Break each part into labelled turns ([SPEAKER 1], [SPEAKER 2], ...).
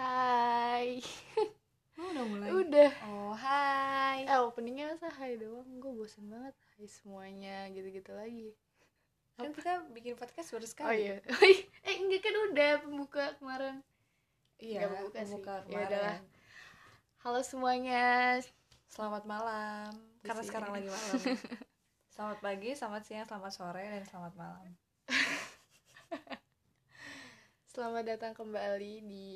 [SPEAKER 1] Oh,
[SPEAKER 2] Eh, semuanya gitu-gitu lagi
[SPEAKER 1] kan kita bikin podcast baru
[SPEAKER 2] oh
[SPEAKER 1] sekali
[SPEAKER 2] iya eh enggak kan udah pembuka kemarin
[SPEAKER 1] iya
[SPEAKER 2] Nggak buka sih.
[SPEAKER 1] pembuka
[SPEAKER 2] Ya
[SPEAKER 1] kemarin.
[SPEAKER 2] udahlah. halo semuanya
[SPEAKER 1] selamat malam karena
[SPEAKER 2] Iya.
[SPEAKER 1] sekarang lagi malam selamat pagi selamat siang selamat sore dan selamat malam
[SPEAKER 2] selamat datang kembali di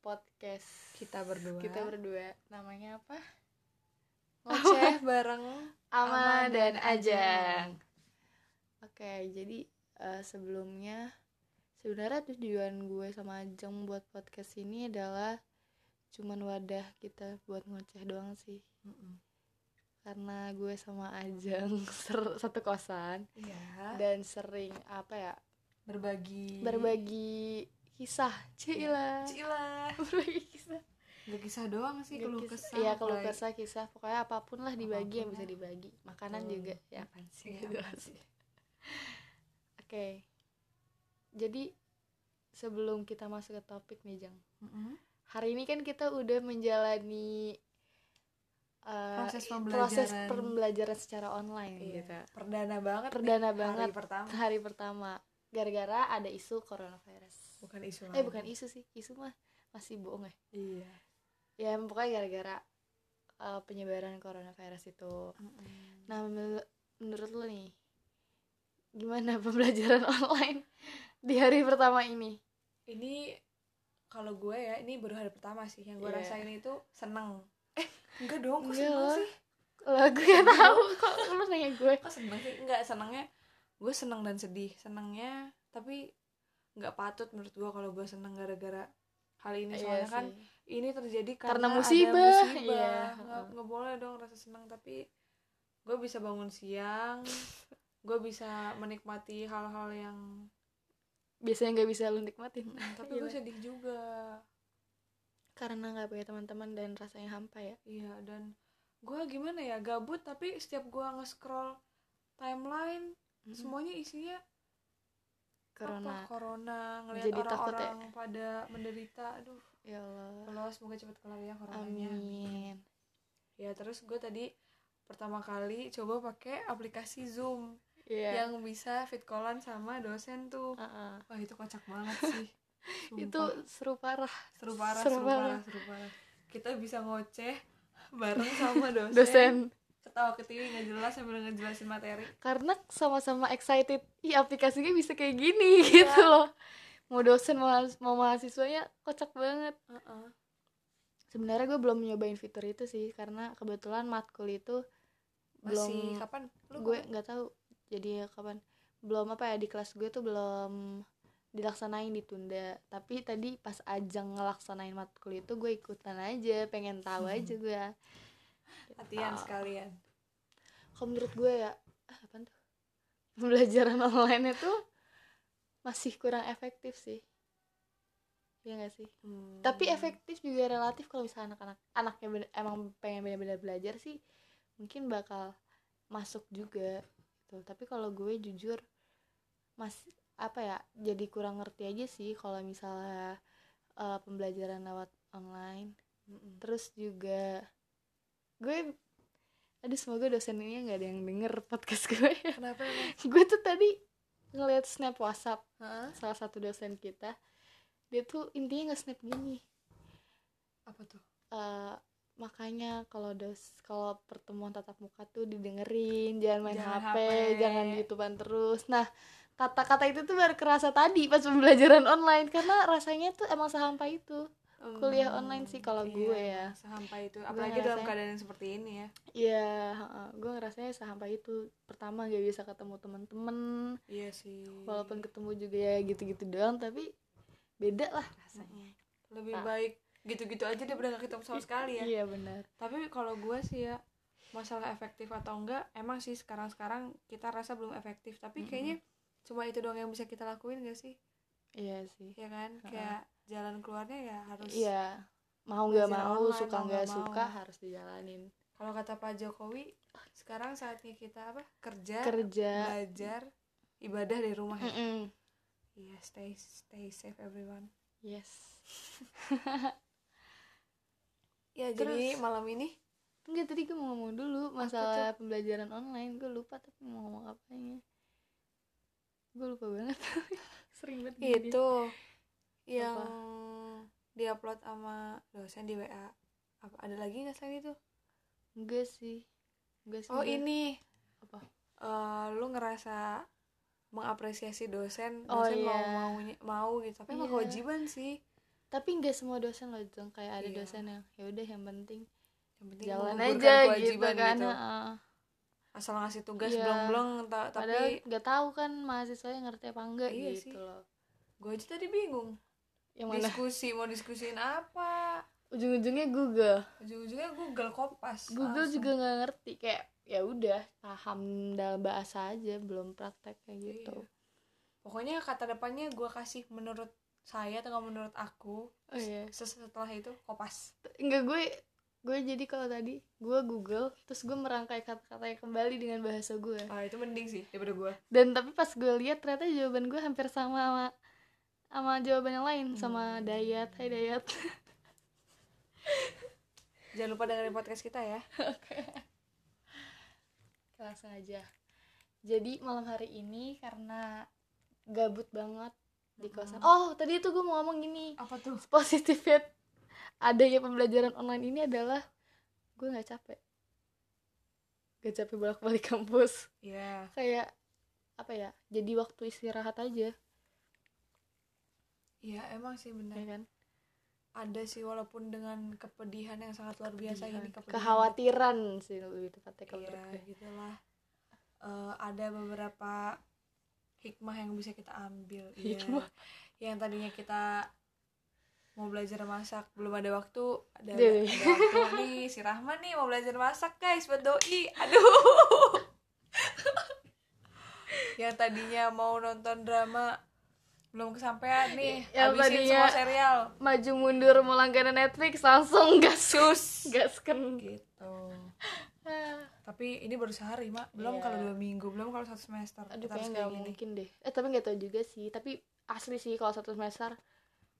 [SPEAKER 2] podcast
[SPEAKER 1] kita berdua
[SPEAKER 2] kita berdua namanya apa
[SPEAKER 1] ngoceh bareng
[SPEAKER 2] Ama, dan
[SPEAKER 1] Ama dan
[SPEAKER 2] Ajang oke jadi eh, sebelumnya sebenarnya tujuan gue sama Ajang membuat podcast ini adalah cuman wadah kita buat ngoceh doang sih
[SPEAKER 1] Mm-mm.
[SPEAKER 2] karena gue sama Ajeng ser- satu kosan
[SPEAKER 1] iya
[SPEAKER 2] dan sering apa ya
[SPEAKER 1] berbagi
[SPEAKER 2] berbagi kisah cila
[SPEAKER 1] Cila
[SPEAKER 2] Iya. berbagi kisah
[SPEAKER 1] gak kisah doang sih keluh
[SPEAKER 2] Kisah-
[SPEAKER 1] kesah
[SPEAKER 2] iya kalau
[SPEAKER 1] apalagi-
[SPEAKER 2] kesah kisah pokoknya apapun lah dibagi yang bisa
[SPEAKER 1] Apapun lah. Hmm.
[SPEAKER 2] dibagi makanan
[SPEAKER 1] Betul.
[SPEAKER 2] juga ya
[SPEAKER 1] Apaan sih
[SPEAKER 2] Iya,
[SPEAKER 1] gitu
[SPEAKER 2] apaan
[SPEAKER 1] sih
[SPEAKER 2] oke jadi sebelum kita masuk ke topik nih Jang
[SPEAKER 1] Mm-mm.
[SPEAKER 2] hari ini kan kita udah menjalani eh,
[SPEAKER 1] Proses
[SPEAKER 2] proses
[SPEAKER 1] pembelajaran.
[SPEAKER 2] pembelajaran secara online
[SPEAKER 1] Iya.
[SPEAKER 2] gitu
[SPEAKER 1] perdana banget
[SPEAKER 2] perdana
[SPEAKER 1] nih,
[SPEAKER 2] banget
[SPEAKER 1] hari pertama
[SPEAKER 2] hari pertama gara-gara ada isu coronavirus
[SPEAKER 1] bukan isu
[SPEAKER 2] eh
[SPEAKER 1] lagi.
[SPEAKER 2] bukan isu sih isu mah masih bohong ya
[SPEAKER 1] iya
[SPEAKER 2] ya pokoknya gara-gara uh, penyebaran coronavirus itu
[SPEAKER 1] Mm-mm.
[SPEAKER 2] nah menur- menurut lu nih gimana pembelajaran online di hari pertama ini
[SPEAKER 1] ini kalau gue ya ini baru hari pertama sih yang gue
[SPEAKER 2] Iya.
[SPEAKER 1] rasain itu seneng eh enggak dong kok
[SPEAKER 2] Enggak
[SPEAKER 1] seneng
[SPEAKER 2] lah.
[SPEAKER 1] sih
[SPEAKER 2] lah gue gak tahu kok lu nanya gue
[SPEAKER 1] kok seneng sih enggak senengnya gue seneng dan sedih senengnya tapi nggak patut menurut gue kalau gue seneng gara-gara hal
[SPEAKER 2] Iya
[SPEAKER 1] ini soalnya kan
[SPEAKER 2] sih.
[SPEAKER 1] ini terjadi
[SPEAKER 2] Karena
[SPEAKER 1] karena,
[SPEAKER 2] musibah,
[SPEAKER 1] ada musibah.
[SPEAKER 2] iya.
[SPEAKER 1] nggak nggak boleh dong rasa senang tapi gue bisa bangun siang gue bisa menikmati hal-hal yang
[SPEAKER 2] biasanya nggak bisa lu nikmatin
[SPEAKER 1] tapi gue
[SPEAKER 2] Gila.
[SPEAKER 1] sedih juga
[SPEAKER 2] karena nggak punya teman-teman dan rasanya hampa ya
[SPEAKER 1] Iya dan gue gimana ya gabut tapi setiap gue nge-scroll timeline semuanya isinya
[SPEAKER 2] Hmm. corona
[SPEAKER 1] apa corona ngelihat
[SPEAKER 2] Jadi takut ya.
[SPEAKER 1] orang-orang pada menderita aduh
[SPEAKER 2] ya Allah
[SPEAKER 1] kalau semoga cepet kelar ya coronanya
[SPEAKER 2] amin
[SPEAKER 1] ya terus gue tadi pertama kali coba pakai aplikasi zoom
[SPEAKER 2] Iya.
[SPEAKER 1] yang bisa fit callan sama dosen tuh
[SPEAKER 2] Uh-uh.
[SPEAKER 1] wah itu kocak banget sih Sumpah.
[SPEAKER 2] itu seru parah
[SPEAKER 1] seru parah
[SPEAKER 2] seru
[SPEAKER 1] seru
[SPEAKER 2] parah.
[SPEAKER 1] parah seru parah kita bisa ngoceh bareng sama dosen,
[SPEAKER 2] dosen
[SPEAKER 1] ketawa ketiwi nggak jelas sambil ngejelasin materi
[SPEAKER 2] karena sama-sama excited ih aplikasinya bisa kayak gini gitu loh mau dosen mau, mau mahasiswanya kocak banget
[SPEAKER 1] Heeh.
[SPEAKER 2] sebenarnya gue belum nyobain fitur itu sih karena kebetulan matkul itu belum
[SPEAKER 1] masih kapan lu
[SPEAKER 2] gue nggak tahu jadi kapan belum apa ya di kelas gue tuh belum dilaksanain ditunda tapi tadi pas ajang ngelaksanain matkul itu gue ikutan aja pengen tahu
[SPEAKER 1] Hmm.
[SPEAKER 2] aja gue
[SPEAKER 1] latihan
[SPEAKER 2] Ah.
[SPEAKER 1] sekalian
[SPEAKER 2] kalau menurut gue ya ah, apaan tuh pembelajaran online itu masih kurang efektif sih Iya gak sih
[SPEAKER 1] Hmm.
[SPEAKER 2] tapi efektif juga relatif kalau misalnya anak-anak anaknya bener- emang pengen benar-benar belajar sih mungkin bakal masuk juga gitu tapi kalau gue jujur masih apa ya jadi kurang ngerti aja sih kalau misalnya eh, pembelajaran lewat online
[SPEAKER 1] Mm-mm.
[SPEAKER 2] terus juga gue aduh semoga dosen ini nggak ada yang denger podcast gue ya.
[SPEAKER 1] kenapa emang?
[SPEAKER 2] gue tuh tadi ngeliat snap WhatsApp
[SPEAKER 1] Heeh.
[SPEAKER 2] salah satu dosen kita dia tuh intinya nggak snap gini
[SPEAKER 1] apa tuh
[SPEAKER 2] Eh, makanya kalau dos kalau pertemuan tatap muka tuh didengerin jangan main
[SPEAKER 1] Jangan
[SPEAKER 2] HP,
[SPEAKER 1] HP.
[SPEAKER 2] jangan youtubean terus nah kata-kata itu tuh baru kerasa tadi pas pembelajaran online karena rasanya tuh emang sehampa itu Hmm. Kuliah online sih kalau gue ya.
[SPEAKER 1] Iya, sampai itu
[SPEAKER 2] Gue
[SPEAKER 1] apalagi
[SPEAKER 2] ngerasain.
[SPEAKER 1] dalam keadaan yang seperti ini ya
[SPEAKER 2] Iya, heeh. gue ngerasanya sehampa itu. Pertama gak bisa ketemu temen-temen,
[SPEAKER 1] iya sih
[SPEAKER 2] walaupun ketemu juga ya gitu-gitu doang, tapi beda lah rasanya.
[SPEAKER 1] Mm-mm. lebih
[SPEAKER 2] Ah.
[SPEAKER 1] baik gitu-gitu aja daripada gak ketemu sama sekali ya
[SPEAKER 2] Iya benar.
[SPEAKER 1] tapi kalau gue sih ya masalah efektif atau enggak emang sih sekarang-sekarang kita rasa belum efektif tapi
[SPEAKER 2] Mm-mm.
[SPEAKER 1] kayaknya cuma itu doang yang bisa kita lakuin gak sih
[SPEAKER 2] Iya sih.
[SPEAKER 1] ya kan
[SPEAKER 2] Ah.
[SPEAKER 1] kayak jalan keluarnya ya harus
[SPEAKER 2] Iya, mau nggak
[SPEAKER 1] Belajar
[SPEAKER 2] mau,
[SPEAKER 1] online,
[SPEAKER 2] suka
[SPEAKER 1] mau
[SPEAKER 2] nggak
[SPEAKER 1] nggak
[SPEAKER 2] suka
[SPEAKER 1] mau.
[SPEAKER 2] harus dijalanin.
[SPEAKER 1] kalau kata Pak Jokowi sekarang saatnya kita apa kerja
[SPEAKER 2] Kerja.
[SPEAKER 1] belajar ibadah dari rumah ya
[SPEAKER 2] Mm-mm.
[SPEAKER 1] Iya, stay stay safe everyone
[SPEAKER 2] Yes.
[SPEAKER 1] ya
[SPEAKER 2] Terus?
[SPEAKER 1] jadi Ya, malam ini
[SPEAKER 2] Enggak tadi gue mau ngomong dulu masalah pembelajaran online gue lupa tapi mau ngomong apanya gue lupa banget Gitu. sering banget gini.
[SPEAKER 1] itu yang diupload sama dosen di WA apa ada lagi nggak selain itu
[SPEAKER 2] enggak sih enggak sih
[SPEAKER 1] oh
[SPEAKER 2] enggak.
[SPEAKER 1] ini
[SPEAKER 2] apa
[SPEAKER 1] eh, lu ngerasa mengapresiasi dosen
[SPEAKER 2] Oh,
[SPEAKER 1] dosen mau
[SPEAKER 2] iya.
[SPEAKER 1] maunya mau gitu tapi emang
[SPEAKER 2] Iya.
[SPEAKER 1] kewajiban sih
[SPEAKER 2] tapi enggak semua dosen loh Jong kayak ada
[SPEAKER 1] Iya.
[SPEAKER 2] dosen yang ya udah yang penting
[SPEAKER 1] yang penting
[SPEAKER 2] jalan aja
[SPEAKER 1] menggugurkan
[SPEAKER 2] gitu kan
[SPEAKER 1] gitu.
[SPEAKER 2] heeh.
[SPEAKER 1] asal ngasih tugas
[SPEAKER 2] Iya.
[SPEAKER 1] blong-blong ta-
[SPEAKER 2] padahal
[SPEAKER 1] tapi
[SPEAKER 2] nggak tahu kan mahasiswa yang ngerti apa enggak
[SPEAKER 1] Iya
[SPEAKER 2] gitu
[SPEAKER 1] sih.
[SPEAKER 2] loh
[SPEAKER 1] gue aja tadi bingung
[SPEAKER 2] yang mana
[SPEAKER 1] diskusi mau diskusiin apa
[SPEAKER 2] ujung-ujungnya Google
[SPEAKER 1] Ah, ujung-ujungnya Google Kopas
[SPEAKER 2] Google
[SPEAKER 1] langsung.
[SPEAKER 2] juga nggak ngerti kayak ya udah paham dalam bahasa aja belum praktek kayak gitu
[SPEAKER 1] Iya. pokoknya kata depannya gue kasih menurut saya atau nggak menurut aku
[SPEAKER 2] oh iya
[SPEAKER 1] Ses- setelah itu kopas
[SPEAKER 2] enggak gue gue jadi kalau tadi gue Google terus gue merangkai kata-katanya kembali dengan bahasa gue
[SPEAKER 1] ah itu mending sih daripada gue
[SPEAKER 2] dan tapi pas gue lihat ternyata jawaban gue hampir sama sama sama jawaban yang lain sama Dayat Hai Dayat
[SPEAKER 1] jangan lupa dengerin podcast kita ya
[SPEAKER 2] Oke, langsung aja jadi malam hari ini karena gabut banget di kosan oh tadi itu gue mau ngomong gini
[SPEAKER 1] Hmm. apa tuh
[SPEAKER 2] positifnya adanya pembelajaran online ini adalah gue nggak capek gak capek bolak balik kampus
[SPEAKER 1] ya
[SPEAKER 2] kayak apa ya jadi waktu istirahat aja
[SPEAKER 1] ya emang
[SPEAKER 2] ya
[SPEAKER 1] sih benar
[SPEAKER 2] kan
[SPEAKER 1] ada sih walaupun dengan kepedihan yang sangat luar biasa ini kepedihan
[SPEAKER 2] Iya, kekhawatiran sih lebih tepatnya kalau
[SPEAKER 1] Iya,
[SPEAKER 2] menurut gue.
[SPEAKER 1] gitulah Eh, ada beberapa hikmah yang bisa kita ambil iya.
[SPEAKER 2] Hikmah.
[SPEAKER 1] yang tadinya kita mau belajar masak belum ada waktu ada,
[SPEAKER 2] Deh.
[SPEAKER 1] ada
[SPEAKER 2] iya.
[SPEAKER 1] waktu nih si Rahma nih mau belajar masak guys buat doi aduh yang tadinya mau nonton drama belum kesampaian nih
[SPEAKER 2] Yang
[SPEAKER 1] habisin
[SPEAKER 2] tadinya-
[SPEAKER 1] semua serial
[SPEAKER 2] maju mundur mau langganan Netflix langsung gas
[SPEAKER 1] sus
[SPEAKER 2] gas Ah, kan
[SPEAKER 1] gitu tapi ini baru sehari mak belum
[SPEAKER 2] Iya.
[SPEAKER 1] kalau dua minggu belum kalau satu semester
[SPEAKER 2] aduh
[SPEAKER 1] Kita harus
[SPEAKER 2] kayaknya
[SPEAKER 1] kayak
[SPEAKER 2] nggak
[SPEAKER 1] gini.
[SPEAKER 2] mungkin deh eh tapi nggak tahu juga sih tapi asli sih kalau satu semester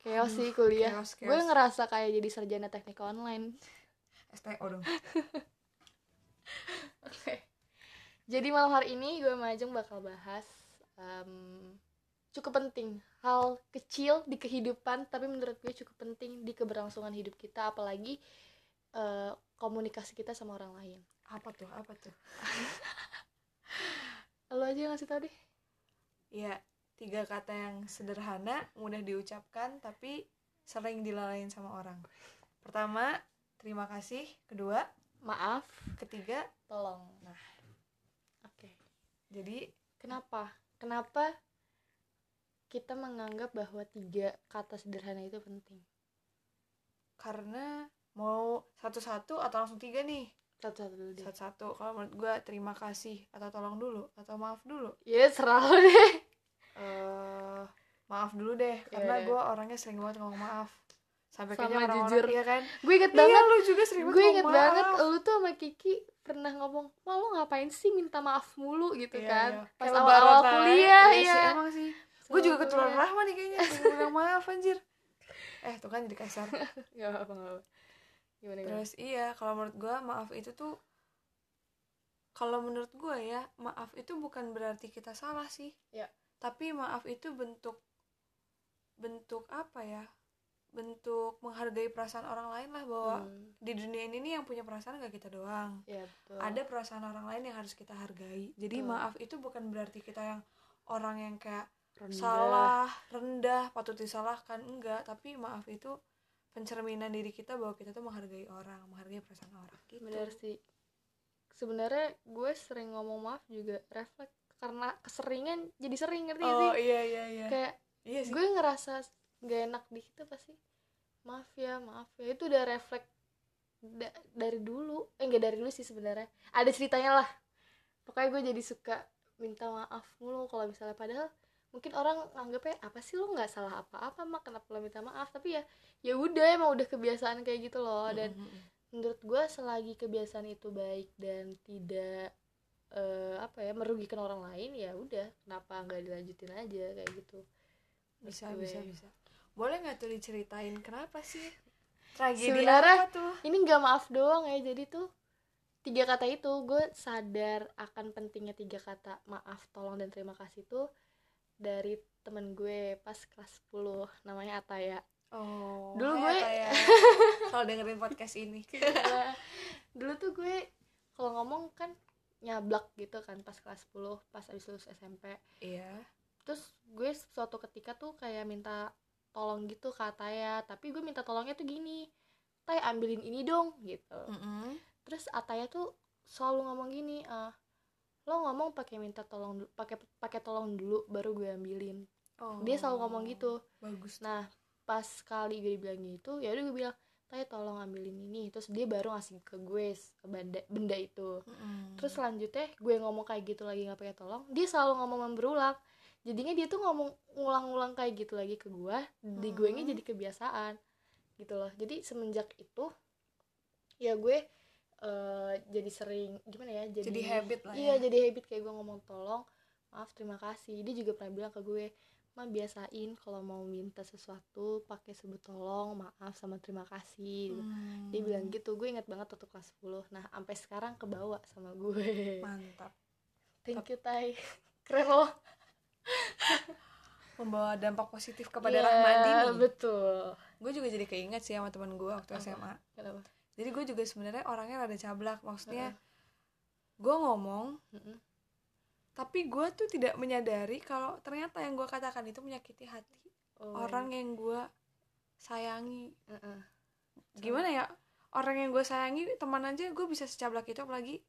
[SPEAKER 2] chaos sih kuliah
[SPEAKER 1] chaos,
[SPEAKER 2] gue
[SPEAKER 1] chaos.
[SPEAKER 2] ngerasa kayak jadi sarjana teknik online
[SPEAKER 1] STO dong
[SPEAKER 2] jadi malam hari ini gue sama Ajeng bakal bahas em, cukup penting hal kecil di kehidupan tapi menurut gue cukup penting di keberlangsungan hidup kita apalagi eh, komunikasi kita sama orang lain
[SPEAKER 1] apa tuh apa tuh
[SPEAKER 2] lo aja yang ngasih tau deh
[SPEAKER 1] ya tiga kata yang sederhana mudah diucapkan tapi sering dilalain sama orang pertama terima kasih kedua
[SPEAKER 2] maaf
[SPEAKER 1] ketiga
[SPEAKER 2] tolong
[SPEAKER 1] Nah.
[SPEAKER 2] oke
[SPEAKER 1] jadi
[SPEAKER 2] kenapa kenapa kita menganggap bahwa tiga kata sederhana itu penting
[SPEAKER 1] karena mau satu-satu atau langsung tiga nih
[SPEAKER 2] satu satu dulu deh
[SPEAKER 1] satu-satu kalau menurut gue terima kasih atau tolong dulu atau maaf dulu
[SPEAKER 2] ya serah lo deh
[SPEAKER 1] eh maaf dulu deh karena
[SPEAKER 2] Iya.
[SPEAKER 1] gue orangnya sering banget ngomong maaf sampai
[SPEAKER 2] Sama,
[SPEAKER 1] kayaknya orang-orang
[SPEAKER 2] jujur.
[SPEAKER 1] iya kan
[SPEAKER 2] gue inget
[SPEAKER 1] Iya,
[SPEAKER 2] banget
[SPEAKER 1] lu juga sering banget
[SPEAKER 2] gue inget
[SPEAKER 1] ngomong maaf.
[SPEAKER 2] banget lu tuh sama Kiki pernah ngomong mau lo ngapain sih minta maaf mulu gitu
[SPEAKER 1] Iya,
[SPEAKER 2] kan
[SPEAKER 1] iya.
[SPEAKER 2] pas
[SPEAKER 1] Kayak
[SPEAKER 2] awal-awal
[SPEAKER 1] lebaran,
[SPEAKER 2] kuliah
[SPEAKER 1] Iya
[SPEAKER 2] ya
[SPEAKER 1] sih, emang sih gue juga ketularan
[SPEAKER 2] kuliah.
[SPEAKER 1] Rahma nih kayaknya sering bilang maaf anjir eh tuh kan jadi kasar
[SPEAKER 2] Gak Iya, apa-apa gak apa gimana gimana
[SPEAKER 1] terus iya kalau menurut gue maaf itu tuh kalau menurut gue ya maaf itu bukan berarti kita salah sih
[SPEAKER 2] Iya.
[SPEAKER 1] tapi maaf itu bentuk bentuk apa ya bentuk menghargai perasaan orang lain lah bahwa
[SPEAKER 2] Hmm,
[SPEAKER 1] di dunia ini nih yang punya perasaan gak kita doang
[SPEAKER 2] iya, betul.
[SPEAKER 1] ada perasaan orang lain yang harus kita hargai jadi
[SPEAKER 2] Betul.
[SPEAKER 1] maaf itu bukan berarti kita yang orang yang kayak
[SPEAKER 2] Rendah.
[SPEAKER 1] salah rendah patut disalahkan enggak tapi maaf itu pencerminan diri kita bahwa kita tuh menghargai orang menghargai perasaan orang gitu
[SPEAKER 2] bener sih sebenarnya gue sering ngomong maaf juga refleks karena keseringan jadi sering ngerti gak
[SPEAKER 1] oh
[SPEAKER 2] sih
[SPEAKER 1] iya iya iya
[SPEAKER 2] kayak
[SPEAKER 1] iya sih
[SPEAKER 2] gue ngerasa gak enak di situ pasti maaf ya maaf ya itu udah refleks da- dari dulu eh enggak dari dulu sih sebenarnya ada ceritanya lah pokoknya gue jadi suka minta maaf mulu kalau misalnya padahal mungkin orang nganggepnya apa sih lu nggak salah apa-apa mah kenapa lo minta maaf tapi ya ya udah emang udah kebiasaan kayak gitu loh dan
[SPEAKER 1] Mm-mm.
[SPEAKER 2] menurut gue selagi kebiasaan itu baik dan tidak eh, apa ya merugikan orang lain ya udah kenapa nggak dilanjutin aja kayak gitu
[SPEAKER 1] bisa
[SPEAKER 2] Menurut
[SPEAKER 1] bisa
[SPEAKER 2] gue.
[SPEAKER 1] bisa boleh nggak tuh diceritain kenapa sih tragedi
[SPEAKER 2] Sebenarnya-
[SPEAKER 1] apa tuh
[SPEAKER 2] ini nggak maaf doang ya jadi tuh tiga kata itu gue sadar akan pentingnya tiga kata maaf tolong dan terima kasih itu dari temen gue pas kelas 10 namanya Ataya
[SPEAKER 1] Oh,
[SPEAKER 2] Dulu
[SPEAKER 1] hai,
[SPEAKER 2] gue-
[SPEAKER 1] Ataya. Kalau dengerin podcast ini.
[SPEAKER 2] Gila. dulu tuh gue kalau ngomong kan nyablak gitu kan pas kelas 10 pas abis lulus SMP
[SPEAKER 1] Iya.
[SPEAKER 2] terus gue suatu ketika tuh kayak minta tolong gitu ke Ataya tapi gue minta tolongnya tuh gini Tay ambilin ini dong gitu
[SPEAKER 1] Mm-mm.
[SPEAKER 2] terus Ataya tuh selalu ngomong gini "Eh, lo ngomong pakai minta tolong dulu pakai pakai tolong dulu baru gue ambilin
[SPEAKER 1] Oh.
[SPEAKER 2] dia selalu ngomong gitu
[SPEAKER 1] Bagus.
[SPEAKER 2] nah pas kali gue dibilang gitu ya udah gue bilang Tay tolong ambilin ini terus dia baru ngasih ke gue s- benda, benda itu
[SPEAKER 1] Mm-mm.
[SPEAKER 2] terus selanjutnya gue ngomong kayak gitu lagi nggak pakai tolong dia selalu ngomong berulang jadinya dia tuh ngomong ngulang-ngulang kayak gitu lagi ke gue di gue ini
[SPEAKER 1] Mhm.
[SPEAKER 2] jadi kebiasaan gitu loh jadi semenjak itu ya gue eh, jadi sering gimana ya jadi,
[SPEAKER 1] jadi habit lah
[SPEAKER 2] iya
[SPEAKER 1] ya.
[SPEAKER 2] jadi habit kayak gue ngomong tolong maaf terima kasih dia juga pernah bilang ke gue mah biasain kalau mau minta sesuatu pakai sebut tolong maaf sama terima kasih
[SPEAKER 1] Hmm.
[SPEAKER 2] dia bilang gitu gue inget banget waktu kelas 10 nah sampai sekarang kebawa sama gue
[SPEAKER 1] Mantap.
[SPEAKER 2] thank you tay keren loh
[SPEAKER 1] Membawa dampak positif kepada
[SPEAKER 2] Iya,
[SPEAKER 1] Rahmadi nih.
[SPEAKER 2] betul
[SPEAKER 1] Gue juga jadi keinget sih sama teman gue waktu
[SPEAKER 2] Apa?
[SPEAKER 1] SMA.
[SPEAKER 2] kenapa
[SPEAKER 1] Jadi gue juga sebenarnya orangnya rada cablak. Maksudnya gue ngomong
[SPEAKER 2] Mm-mm.
[SPEAKER 1] tapi gue tuh tidak menyadari kalau ternyata yang gue katakan itu menyakiti hati
[SPEAKER 2] Oh,
[SPEAKER 1] orang yang gue sayangi.
[SPEAKER 2] Mm-mm.
[SPEAKER 1] Gimana ya? Orang yang gue sayangi teman aja gue bisa secablak itu apalagi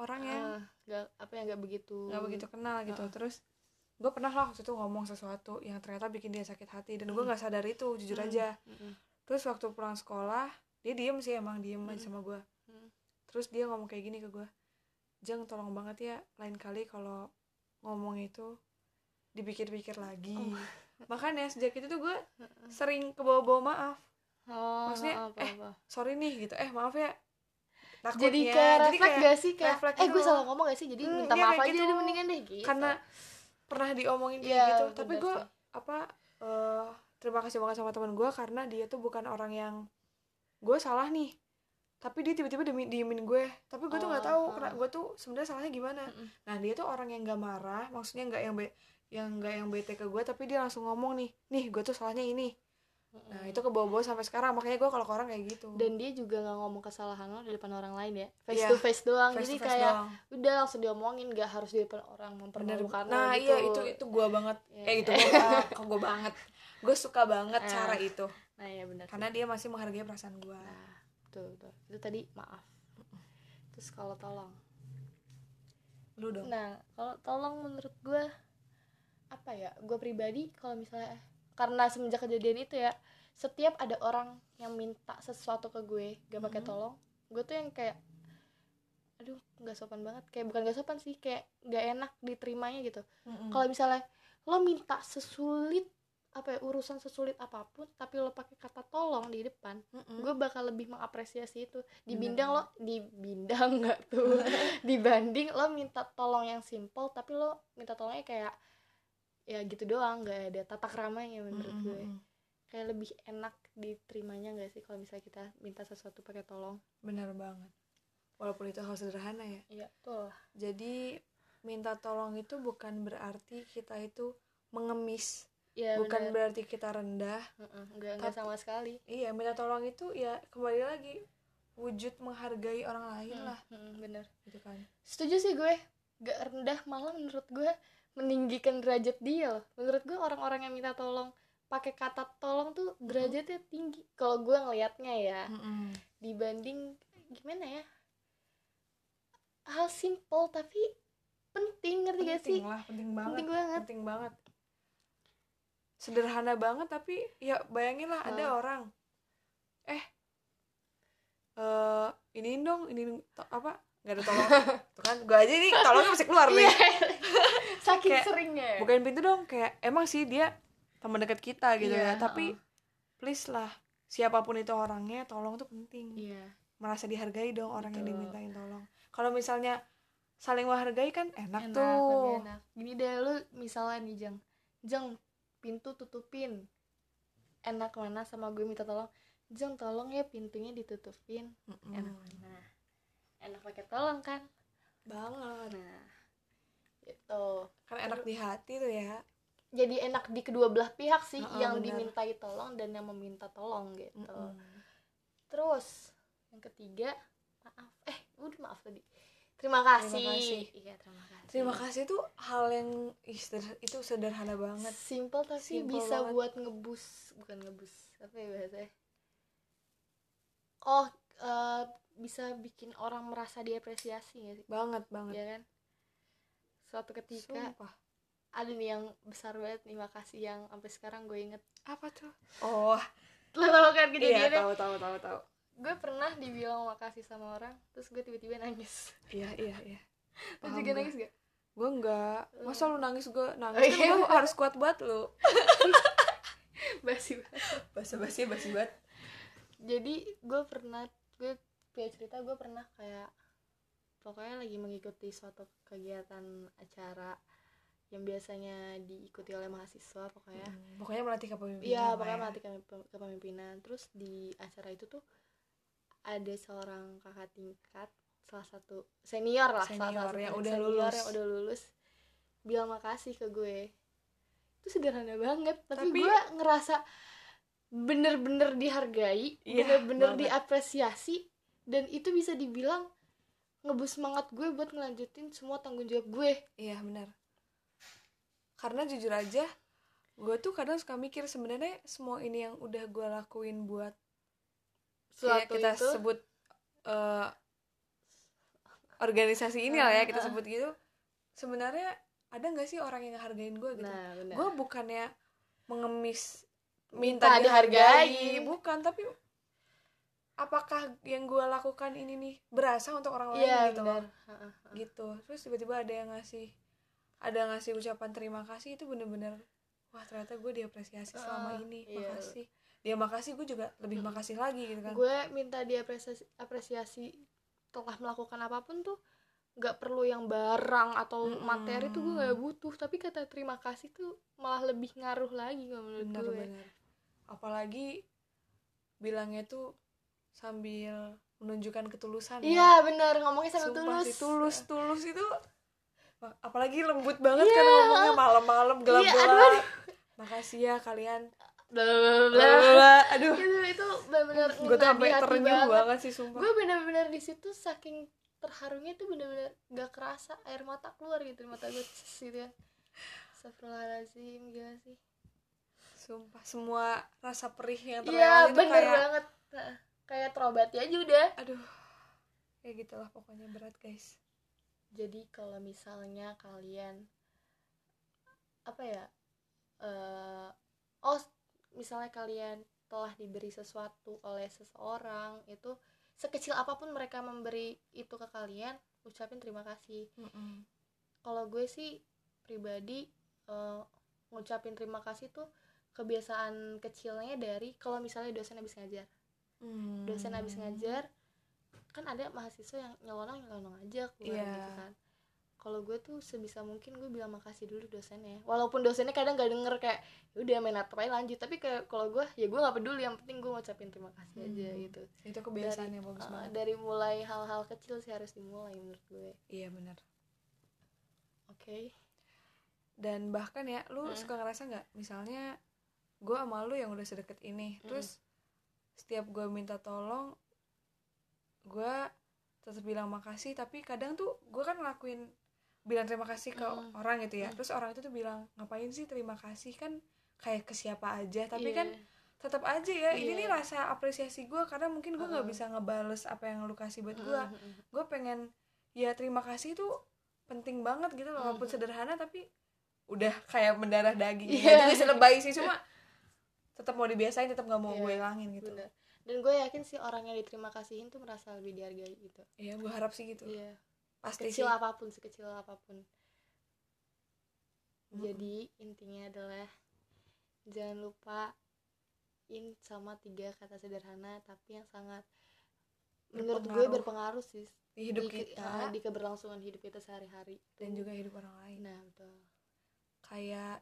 [SPEAKER 1] orang yang
[SPEAKER 2] Ah, nggak apa yang nggak begitu
[SPEAKER 1] nggak begitu kenal gitu terus gue pernah lah waktu itu ngomong sesuatu yang ternyata bikin dia sakit hati dan gue
[SPEAKER 2] Mm.
[SPEAKER 1] nggak sadar itu jujur
[SPEAKER 2] Mm,
[SPEAKER 1] aja
[SPEAKER 2] mm-mm.
[SPEAKER 1] terus waktu pulang sekolah dia diem sih emang diem aja
[SPEAKER 2] Mm.
[SPEAKER 1] sama gue
[SPEAKER 2] Mm.
[SPEAKER 1] terus dia ngomong kayak gini ke gue jeng tolong banget ya lain kali kalau ngomong itu dipikir-pikir lagi
[SPEAKER 2] Oh.
[SPEAKER 1] makanya sejak itu tuh gue sering ke bawah maaf
[SPEAKER 2] oh
[SPEAKER 1] Maksudnya,
[SPEAKER 2] apa,
[SPEAKER 1] eh,
[SPEAKER 2] apa.
[SPEAKER 1] sorry nih gitu eh maaf ya Takutnya.
[SPEAKER 2] jadi kayak refleks
[SPEAKER 1] kayak-
[SPEAKER 2] gak sih kayak
[SPEAKER 1] refleks
[SPEAKER 2] eh
[SPEAKER 1] gitu
[SPEAKER 2] gue
[SPEAKER 1] loh.
[SPEAKER 2] salah ngomong gak sih jadi
[SPEAKER 1] Hmm,
[SPEAKER 2] minta
[SPEAKER 1] iya,
[SPEAKER 2] maaf
[SPEAKER 1] kayak
[SPEAKER 2] aja
[SPEAKER 1] gitu.
[SPEAKER 2] deh mendingan deh gitu
[SPEAKER 1] karena pernah diomongin kayak
[SPEAKER 2] Iya,
[SPEAKER 1] gitu tapi
[SPEAKER 2] benar
[SPEAKER 1] gue
[SPEAKER 2] sih.
[SPEAKER 1] apa eh, terima kasih banget sama teman gue karena dia tuh bukan orang yang gue salah nih tapi dia tiba-tiba demi diemin gue tapi gue tuh nggak
[SPEAKER 2] Oh,
[SPEAKER 1] tahu
[SPEAKER 2] ah.
[SPEAKER 1] gue tuh sebenarnya salahnya gimana
[SPEAKER 2] Mm-mm.
[SPEAKER 1] nah dia tuh orang yang gak marah maksudnya nggak yang be- yang nggak yang bete ke gue tapi dia langsung ngomong nih nih gue tuh salahnya ini nah itu ke bawah sampai sekarang makanya gue kalau ke orang kayak gitu
[SPEAKER 2] dan dia juga nggak ngomong kesalahan lo di depan orang lain ya face
[SPEAKER 1] Iya,
[SPEAKER 2] to face doang
[SPEAKER 1] Face
[SPEAKER 2] jadi
[SPEAKER 1] to face
[SPEAKER 2] kayak
[SPEAKER 1] doang.
[SPEAKER 2] udah langsung diomongin gak harus di depan orang
[SPEAKER 1] Bener.
[SPEAKER 2] mempermalukan lo
[SPEAKER 1] nah
[SPEAKER 2] gitu.
[SPEAKER 1] iya itu itu gue banget
[SPEAKER 2] Iya.
[SPEAKER 1] eh itu gue kok gue banget gue suka banget
[SPEAKER 2] Ah.
[SPEAKER 1] cara itu
[SPEAKER 2] nah ya benar
[SPEAKER 1] karena dia masih menghargai perasaan gue
[SPEAKER 2] nah betul betul itu tadi maaf terus kalau tolong
[SPEAKER 1] lu dong
[SPEAKER 2] nah kalau tolong menurut gue apa ya gue pribadi kalau misalnya karena semenjak kejadian itu ya setiap ada orang yang minta sesuatu ke gue gak pakai
[SPEAKER 1] Mhm.
[SPEAKER 2] tolong gue tuh yang kayak aduh nggak sopan banget kayak bukan gak sopan sih kayak nggak enak diterimanya gitu kalau misalnya lo minta sesulit apa ya urusan sesulit apapun tapi lo pakai kata tolong di depan
[SPEAKER 1] Hmm.
[SPEAKER 2] gue bakal lebih mengapresiasi itu dibindang lo dibindang nggak tuh dibanding lo minta tolong yang simple tapi lo minta tolongnya kayak ya gitu doang nggak ada tata keramanya menurut
[SPEAKER 1] Hmm,
[SPEAKER 2] gue kayak lebih enak diterimanya nggak sih kalau misalnya kita minta sesuatu pakai tolong
[SPEAKER 1] benar banget walaupun itu hal sederhana ya
[SPEAKER 2] iya betul
[SPEAKER 1] jadi minta tolong itu bukan berarti kita itu mengemis
[SPEAKER 2] ya
[SPEAKER 1] bukan
[SPEAKER 2] bener.
[SPEAKER 1] berarti kita rendah
[SPEAKER 2] Mm-mm, nggak nggak
[SPEAKER 1] Tapi-
[SPEAKER 2] sama sekali
[SPEAKER 1] iya minta tolong itu ya kembali lagi wujud menghargai orang lain Iya lah
[SPEAKER 2] Mm, mm, bener
[SPEAKER 1] gitu kan
[SPEAKER 2] setuju sih gue gak rendah malah menurut gue meninggikan derajat dia loh menurut gue orang-orang yang minta tolong pakai kata tolong tuh derajatnya tinggi kalau gue ngelihatnya ya dibanding gimana ya hal simple tapi penting ngerti gak sih
[SPEAKER 1] penting lah penting banget
[SPEAKER 2] penting banget
[SPEAKER 1] penting banget sederhana banget tapi ya bayangin lah ada
[SPEAKER 2] Nah.
[SPEAKER 1] orang eh eh ini dong ini apa nggak ada tolong tuh kan gue aja nih tolongnya masih keluar nih
[SPEAKER 2] Iya. saking
[SPEAKER 1] Kayak,
[SPEAKER 2] seringnya ya.
[SPEAKER 1] bukain pintu dong kayak emang sih dia teman dekat kita gitu
[SPEAKER 2] Iya,
[SPEAKER 1] ya tapi please lah siapapun itu orangnya tolong tuh penting
[SPEAKER 2] iya
[SPEAKER 1] merasa dihargai dong orang yang
[SPEAKER 2] Betul.
[SPEAKER 1] dimintain tolong kalau misalnya saling menghargai kan enak,
[SPEAKER 2] enak
[SPEAKER 1] tuh
[SPEAKER 2] lebih enak gini deh lu misalnya nih jeng jeng pintu tutupin enak mana
[SPEAKER 1] Hmm.
[SPEAKER 2] sama gue minta tolong jeng tolong ya pintunya ditutupin
[SPEAKER 1] Mm-mm.
[SPEAKER 2] enak mana enak pakai tolong kan
[SPEAKER 1] banget
[SPEAKER 2] nah gitu
[SPEAKER 1] kan enak di hati tuh ya
[SPEAKER 2] jadi enak di kedua belah pihak sih
[SPEAKER 1] Heeh,
[SPEAKER 2] yang
[SPEAKER 1] benar.
[SPEAKER 2] dimintai tolong dan yang meminta tolong gitu
[SPEAKER 1] Hmm,
[SPEAKER 2] terus yang ketiga maaf eh udah maaf tadi terima kasih,
[SPEAKER 1] kasih.
[SPEAKER 2] iya terima kasih
[SPEAKER 1] terima kasih tuh hal yang ih, seder- itu sederhana banget
[SPEAKER 2] simple tapi
[SPEAKER 1] Simple
[SPEAKER 2] bisa
[SPEAKER 1] banget.
[SPEAKER 2] buat ngebus bukan ngebus apa ya bahasanya oh eh, bisa bikin orang merasa diapresiasi ya sih
[SPEAKER 1] banget banget
[SPEAKER 2] ya kan suatu ketika
[SPEAKER 1] sumpah
[SPEAKER 2] ada nih yang besar banget nih makasih yang sampai sekarang gue inget
[SPEAKER 1] apa tuh oh
[SPEAKER 2] lo tau kan
[SPEAKER 1] iya
[SPEAKER 2] kejadiannya
[SPEAKER 1] tahu tahu tahu tahu
[SPEAKER 2] gue pernah dibilang makasih sama orang terus gue tiba-tiba nangis
[SPEAKER 1] iya iya iya
[SPEAKER 2] lu
[SPEAKER 1] Paham
[SPEAKER 2] juga
[SPEAKER 1] gue.
[SPEAKER 2] nangis gak
[SPEAKER 1] gue enggak masa lu nangis gue nangis
[SPEAKER 2] Oh, iya.
[SPEAKER 1] kan gue harus kuat buat lu
[SPEAKER 2] basi banget
[SPEAKER 1] basa basi basi banget
[SPEAKER 2] jadi gue pernah gue punya cerita gue pernah kayak pokoknya lagi mengikuti suatu kegiatan acara yang biasanya diikuti oleh mahasiswa pokoknya
[SPEAKER 1] Hmm, pokoknya melatih kepemimpinan
[SPEAKER 2] Iya,
[SPEAKER 1] lah
[SPEAKER 2] pokoknya
[SPEAKER 1] ya.
[SPEAKER 2] melatih kepem- kepemimpinan. Terus di acara itu tuh ada seorang kakak tingkat, salah satu senior lah, salah
[SPEAKER 1] Senior
[SPEAKER 2] satu
[SPEAKER 1] yang
[SPEAKER 2] kakak
[SPEAKER 1] udah
[SPEAKER 2] senior
[SPEAKER 1] lulus.
[SPEAKER 2] yang udah lulus, bilang makasih ke gue. Itu sederhana banget, tapi,
[SPEAKER 1] Tapi-
[SPEAKER 2] gue ngerasa bener-bener dihargai,
[SPEAKER 1] Iya,
[SPEAKER 2] bener-bener
[SPEAKER 1] banget.
[SPEAKER 2] diapresiasi, dan itu bisa dibilang ngebus semangat gue buat ngelanjutin semua tanggung jawab gue.
[SPEAKER 1] Iya benar. Karena jujur aja, gue tuh kadang suka mikir sebenarnya semua ini yang udah gue lakuin buat kayak
[SPEAKER 2] Suatu
[SPEAKER 1] Iya, kita
[SPEAKER 2] itu
[SPEAKER 1] sebut eh, organisasi ini lah ya
[SPEAKER 2] Eh,
[SPEAKER 1] kita
[SPEAKER 2] eh.
[SPEAKER 1] sebut gitu. Sebenarnya ada nggak sih orang yang ngehargain gue gitu?
[SPEAKER 2] Nah, benar.
[SPEAKER 1] gue bukannya mengemis
[SPEAKER 2] Minta
[SPEAKER 1] minta, dihargai,
[SPEAKER 2] dihargai.
[SPEAKER 1] bukan tapi apakah yang gue lakukan ini nih berasa untuk orang lain
[SPEAKER 2] Iya,
[SPEAKER 1] gitu loh
[SPEAKER 2] benar. Ha-ha.
[SPEAKER 1] gitu terus tiba-tiba ada yang ngasih ada ngasih ucapan terima kasih itu bener-bener wah ternyata gue diapresiasi selama
[SPEAKER 2] Ah,
[SPEAKER 1] ini
[SPEAKER 2] iya. Hmm.
[SPEAKER 1] makasih dia makasih gue juga lebih makasih lagi gitu kan
[SPEAKER 2] gue minta dia apresiasi, apresiasi telah melakukan apapun tuh nggak perlu yang barang atau
[SPEAKER 1] Mm-mm.
[SPEAKER 2] materi tuh gue nggak butuh tapi kata terima kasih tuh malah lebih ngaruh lagi kalau menurut gue
[SPEAKER 1] bener-bener apalagi bilangnya tuh sambil menunjukkan ketulusan ya.
[SPEAKER 2] iya bener ngomongnya sambil
[SPEAKER 1] Sumpah
[SPEAKER 2] tulus Iya.
[SPEAKER 1] sih, tulus tulus itu Wah, apalagi lembut banget kan
[SPEAKER 2] Iya.
[SPEAKER 1] ngomongnya malam-malam gelap-gelap
[SPEAKER 2] aduh,
[SPEAKER 1] makasih ya kalian
[SPEAKER 2] bla bla bla, bla
[SPEAKER 1] Blablabla. aduh
[SPEAKER 2] Gitu, itu bener-bener
[SPEAKER 1] gue tuh
[SPEAKER 2] ngena
[SPEAKER 1] sampai
[SPEAKER 2] di hati
[SPEAKER 1] terenyuh banget.
[SPEAKER 2] banget.
[SPEAKER 1] sih sumpah
[SPEAKER 2] gue bener-bener di situ saking terharunya tuh bener-bener gak kerasa air mata keluar gitu mata gue cis gitu kan Astagfirullahaladzim, gila sih
[SPEAKER 1] sumpah semua rasa perih yang terlewat
[SPEAKER 2] Iya
[SPEAKER 1] itu
[SPEAKER 2] bener
[SPEAKER 1] kayak
[SPEAKER 2] banget Nah, kayak terobati aja udah
[SPEAKER 1] aduh kayak gitulah pokoknya berat guys
[SPEAKER 2] jadi kalau misalnya kalian apa ya eh oh misalnya kalian telah diberi sesuatu oleh seseorang itu sekecil apapun mereka memberi itu ke kalian ucapin terima kasih kalau gue sih pribadi eh, ngucapin terima kasih tuh kebiasaan kecilnya dari kalau misalnya dosen habis ngajar
[SPEAKER 1] Hmm.
[SPEAKER 2] dosen habis ngajar kan ada mahasiswa yang nyelonong nyelonong aja keluar
[SPEAKER 1] Iya.
[SPEAKER 2] gitu kan kalau gue tuh sebisa mungkin gue bilang makasih dulu dosennya walaupun dosennya kadang gak denger kayak "Ya udah main apa aja lanjut tapi kayak kalau gue ya gue nggak peduli yang penting gue ngucapin terima kasih aja
[SPEAKER 1] Hmm.
[SPEAKER 2] gitu
[SPEAKER 1] itu kebiasaan yang bagus
[SPEAKER 2] Uh,
[SPEAKER 1] banget
[SPEAKER 2] dari mulai hal-hal kecil sih harus dimulai menurut gue
[SPEAKER 1] iya benar
[SPEAKER 2] oke
[SPEAKER 1] dan bahkan ya lu
[SPEAKER 2] Mm.
[SPEAKER 1] suka ngerasa nggak misalnya gue sama lu yang udah sedekat ini
[SPEAKER 2] Mm-mm.
[SPEAKER 1] terus setiap gue minta tolong gue tetap bilang makasih tapi kadang tuh gue kan ngelakuin bilang terima kasih ke
[SPEAKER 2] Mm.
[SPEAKER 1] orang gitu ya
[SPEAKER 2] Mm.
[SPEAKER 1] terus orang itu tuh bilang ngapain sih terima kasih kan kayak ke siapa aja tapi
[SPEAKER 2] Iya.
[SPEAKER 1] kan tetap aja ya ini
[SPEAKER 2] Iya.
[SPEAKER 1] nih rasa apresiasi gue karena mungkin gue nggak
[SPEAKER 2] Uh-uh.
[SPEAKER 1] bisa ngebales apa yang lu kasih buat
[SPEAKER 2] Mm,
[SPEAKER 1] gue
[SPEAKER 2] mm, mm.
[SPEAKER 1] gue pengen ya terima kasih itu penting banget gitu loh, walaupun
[SPEAKER 2] Mhm.
[SPEAKER 1] sederhana tapi udah kayak mendarah daging
[SPEAKER 2] Iya.
[SPEAKER 1] ya juga sih lebay sih cuma tetap mau dibiasain tetap nggak mau
[SPEAKER 2] Iya,
[SPEAKER 1] gue hilangin gitu
[SPEAKER 2] Bener. dan gue yakin sih orang yang diterima kasihin tuh merasa lebih dihargai gitu
[SPEAKER 1] iya gue harap sih gitu
[SPEAKER 2] iya
[SPEAKER 1] pasti
[SPEAKER 2] kecil
[SPEAKER 1] sih
[SPEAKER 2] apapun sekecil apapun
[SPEAKER 1] Mm-mm.
[SPEAKER 2] jadi intinya adalah jangan lupain sama tiga kata sederhana tapi yang sangat menurut gue
[SPEAKER 1] Berpengaruh.
[SPEAKER 2] berpengaruh sih
[SPEAKER 1] di
[SPEAKER 2] di,
[SPEAKER 1] hidup
[SPEAKER 2] ke- eh,
[SPEAKER 1] kita
[SPEAKER 2] di keberlangsungan hidup kita sehari-hari
[SPEAKER 1] dan juga hidup orang lain
[SPEAKER 2] nah betul
[SPEAKER 1] kayak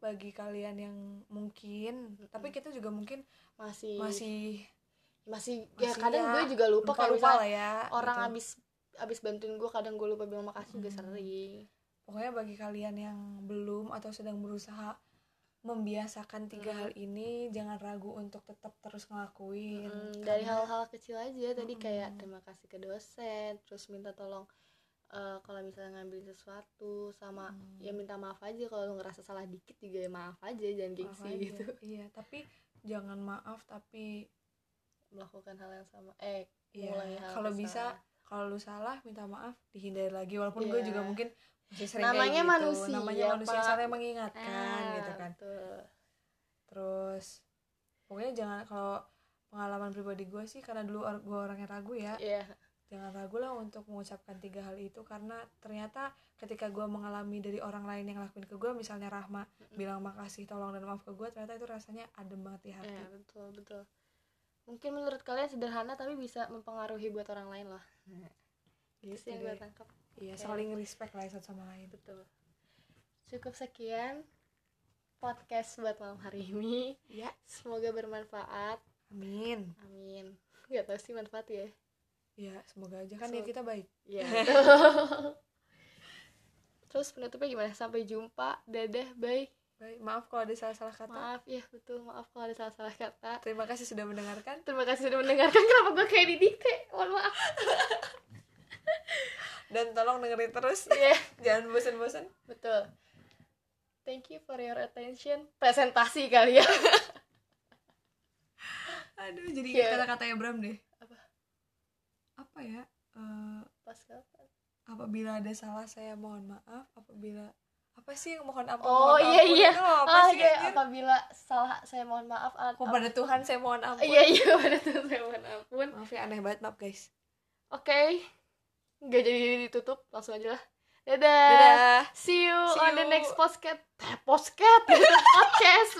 [SPEAKER 1] bagi kalian yang mungkin tapi kita juga mungkin
[SPEAKER 2] masih masih
[SPEAKER 1] masih
[SPEAKER 2] masih ya
[SPEAKER 1] masih
[SPEAKER 2] kadang
[SPEAKER 1] ya,
[SPEAKER 2] gue juga lupa kalau misalnya
[SPEAKER 1] lupa lah ya
[SPEAKER 2] orang
[SPEAKER 1] gitu. Hmm.
[SPEAKER 2] habis abis bantuin gue kadang gue lupa bilang makasih juga sering
[SPEAKER 1] pokoknya bagi kalian yang belum atau sedang berusaha membiasakan
[SPEAKER 2] Mm.
[SPEAKER 1] tiga hal ini jangan ragu untuk tetap terus ngelakuin
[SPEAKER 2] Mm, dari
[SPEAKER 1] Karena-
[SPEAKER 2] hal-hal kecil aja tadi kayak
[SPEAKER 1] Mm-mm.
[SPEAKER 2] terima kasih ke dosen terus minta tolong eh, kalau misalnya ngambil sesuatu sama
[SPEAKER 1] Mm.
[SPEAKER 2] ya minta maaf aja kalau lu ngerasa salah dikit juga ya maaf aja jangan
[SPEAKER 1] Maaf
[SPEAKER 2] gengsi
[SPEAKER 1] aja.
[SPEAKER 2] gitu
[SPEAKER 1] iya tapi jangan maaf tapi
[SPEAKER 2] melakukan hal yang sama eh
[SPEAKER 1] ya
[SPEAKER 2] mengulangi hal
[SPEAKER 1] kalau
[SPEAKER 2] yang
[SPEAKER 1] bisa
[SPEAKER 2] sama.
[SPEAKER 1] kalau lu salah minta maaf dihindari lagi walaupun gue
[SPEAKER 2] Iya.
[SPEAKER 1] juga mungkin masih sering kayak
[SPEAKER 2] Namanya
[SPEAKER 1] gitu.
[SPEAKER 2] manusia,
[SPEAKER 1] namanya manusia
[SPEAKER 2] Pak.
[SPEAKER 1] saling mengingatkan
[SPEAKER 2] Ah,
[SPEAKER 1] gitu kan
[SPEAKER 2] betul.
[SPEAKER 1] terus pokoknya jangan kalau pengalaman pribadi gue sih karena dulu or- gue orangnya ragu ya
[SPEAKER 2] Iya.
[SPEAKER 1] jangan ragu lah untuk mengucapkan tiga hal itu karena ternyata ketika gue mengalami dari orang lain yang lakuin ke gue misalnya Rahma bilang makasih tolong dan maaf ke gue ternyata itu rasanya adem banget di hati
[SPEAKER 2] Iya, betul betul mungkin menurut kalian sederhana tapi bisa mempengaruhi buat orang lain loh itu
[SPEAKER 1] gitu
[SPEAKER 2] sih yang
[SPEAKER 1] deh.
[SPEAKER 2] gue tangkap
[SPEAKER 1] iya
[SPEAKER 2] Kayak-
[SPEAKER 1] saling respect lah satu sama lain
[SPEAKER 2] betul cukup sekian podcast buat malam hari ini
[SPEAKER 1] ya
[SPEAKER 2] semoga bermanfaat
[SPEAKER 1] amin
[SPEAKER 2] amin nggak tahu sih manfaat ya
[SPEAKER 1] ya semoga aja kan
[SPEAKER 2] So-
[SPEAKER 1] niat kita baik
[SPEAKER 2] Iya. terus penutupnya gimana sampai jumpa dadah bye
[SPEAKER 1] baik maaf kalau ada salah-salah kata
[SPEAKER 2] maaf ya betul maaf kalau ada salah salah kata
[SPEAKER 1] terima kasih sudah mendengarkan
[SPEAKER 2] terima kasih sudah mendengarkan kenapa gue kayak didikte mohon maaf
[SPEAKER 1] dan tolong dengerin terus
[SPEAKER 2] Iya.
[SPEAKER 1] jangan bosan-bosan
[SPEAKER 2] Betul. Thank you for your attention. Presentasi kali ya.
[SPEAKER 1] aduh jadi
[SPEAKER 2] Iya.
[SPEAKER 1] ingat kata-kata Abraham deh
[SPEAKER 2] Apa?
[SPEAKER 1] apa ya Eh,
[SPEAKER 2] Pas kapan?
[SPEAKER 1] apabila ada salah saya mohon maaf apabila apa sih yang mohon apa
[SPEAKER 2] Oh,
[SPEAKER 1] mohon
[SPEAKER 2] iya,
[SPEAKER 1] ampun?
[SPEAKER 2] iya.
[SPEAKER 1] Itu apa
[SPEAKER 2] Ah,
[SPEAKER 1] sih
[SPEAKER 2] iya,
[SPEAKER 1] anjir?
[SPEAKER 2] apabila salah saya mohon maaf. At-
[SPEAKER 1] kepada Tuhan saya mohon
[SPEAKER 2] ap-
[SPEAKER 1] ampun
[SPEAKER 2] Iya, iya, pada Tuhan saya mohon ampun.
[SPEAKER 1] maaf ya aneh banget maaf guys
[SPEAKER 2] Oke. Nggak jadi ditutup, langsung aja lah. Dadah.
[SPEAKER 1] dadah
[SPEAKER 2] See you
[SPEAKER 1] See
[SPEAKER 2] on the
[SPEAKER 1] you.
[SPEAKER 2] next podcast. Podcast. podcast.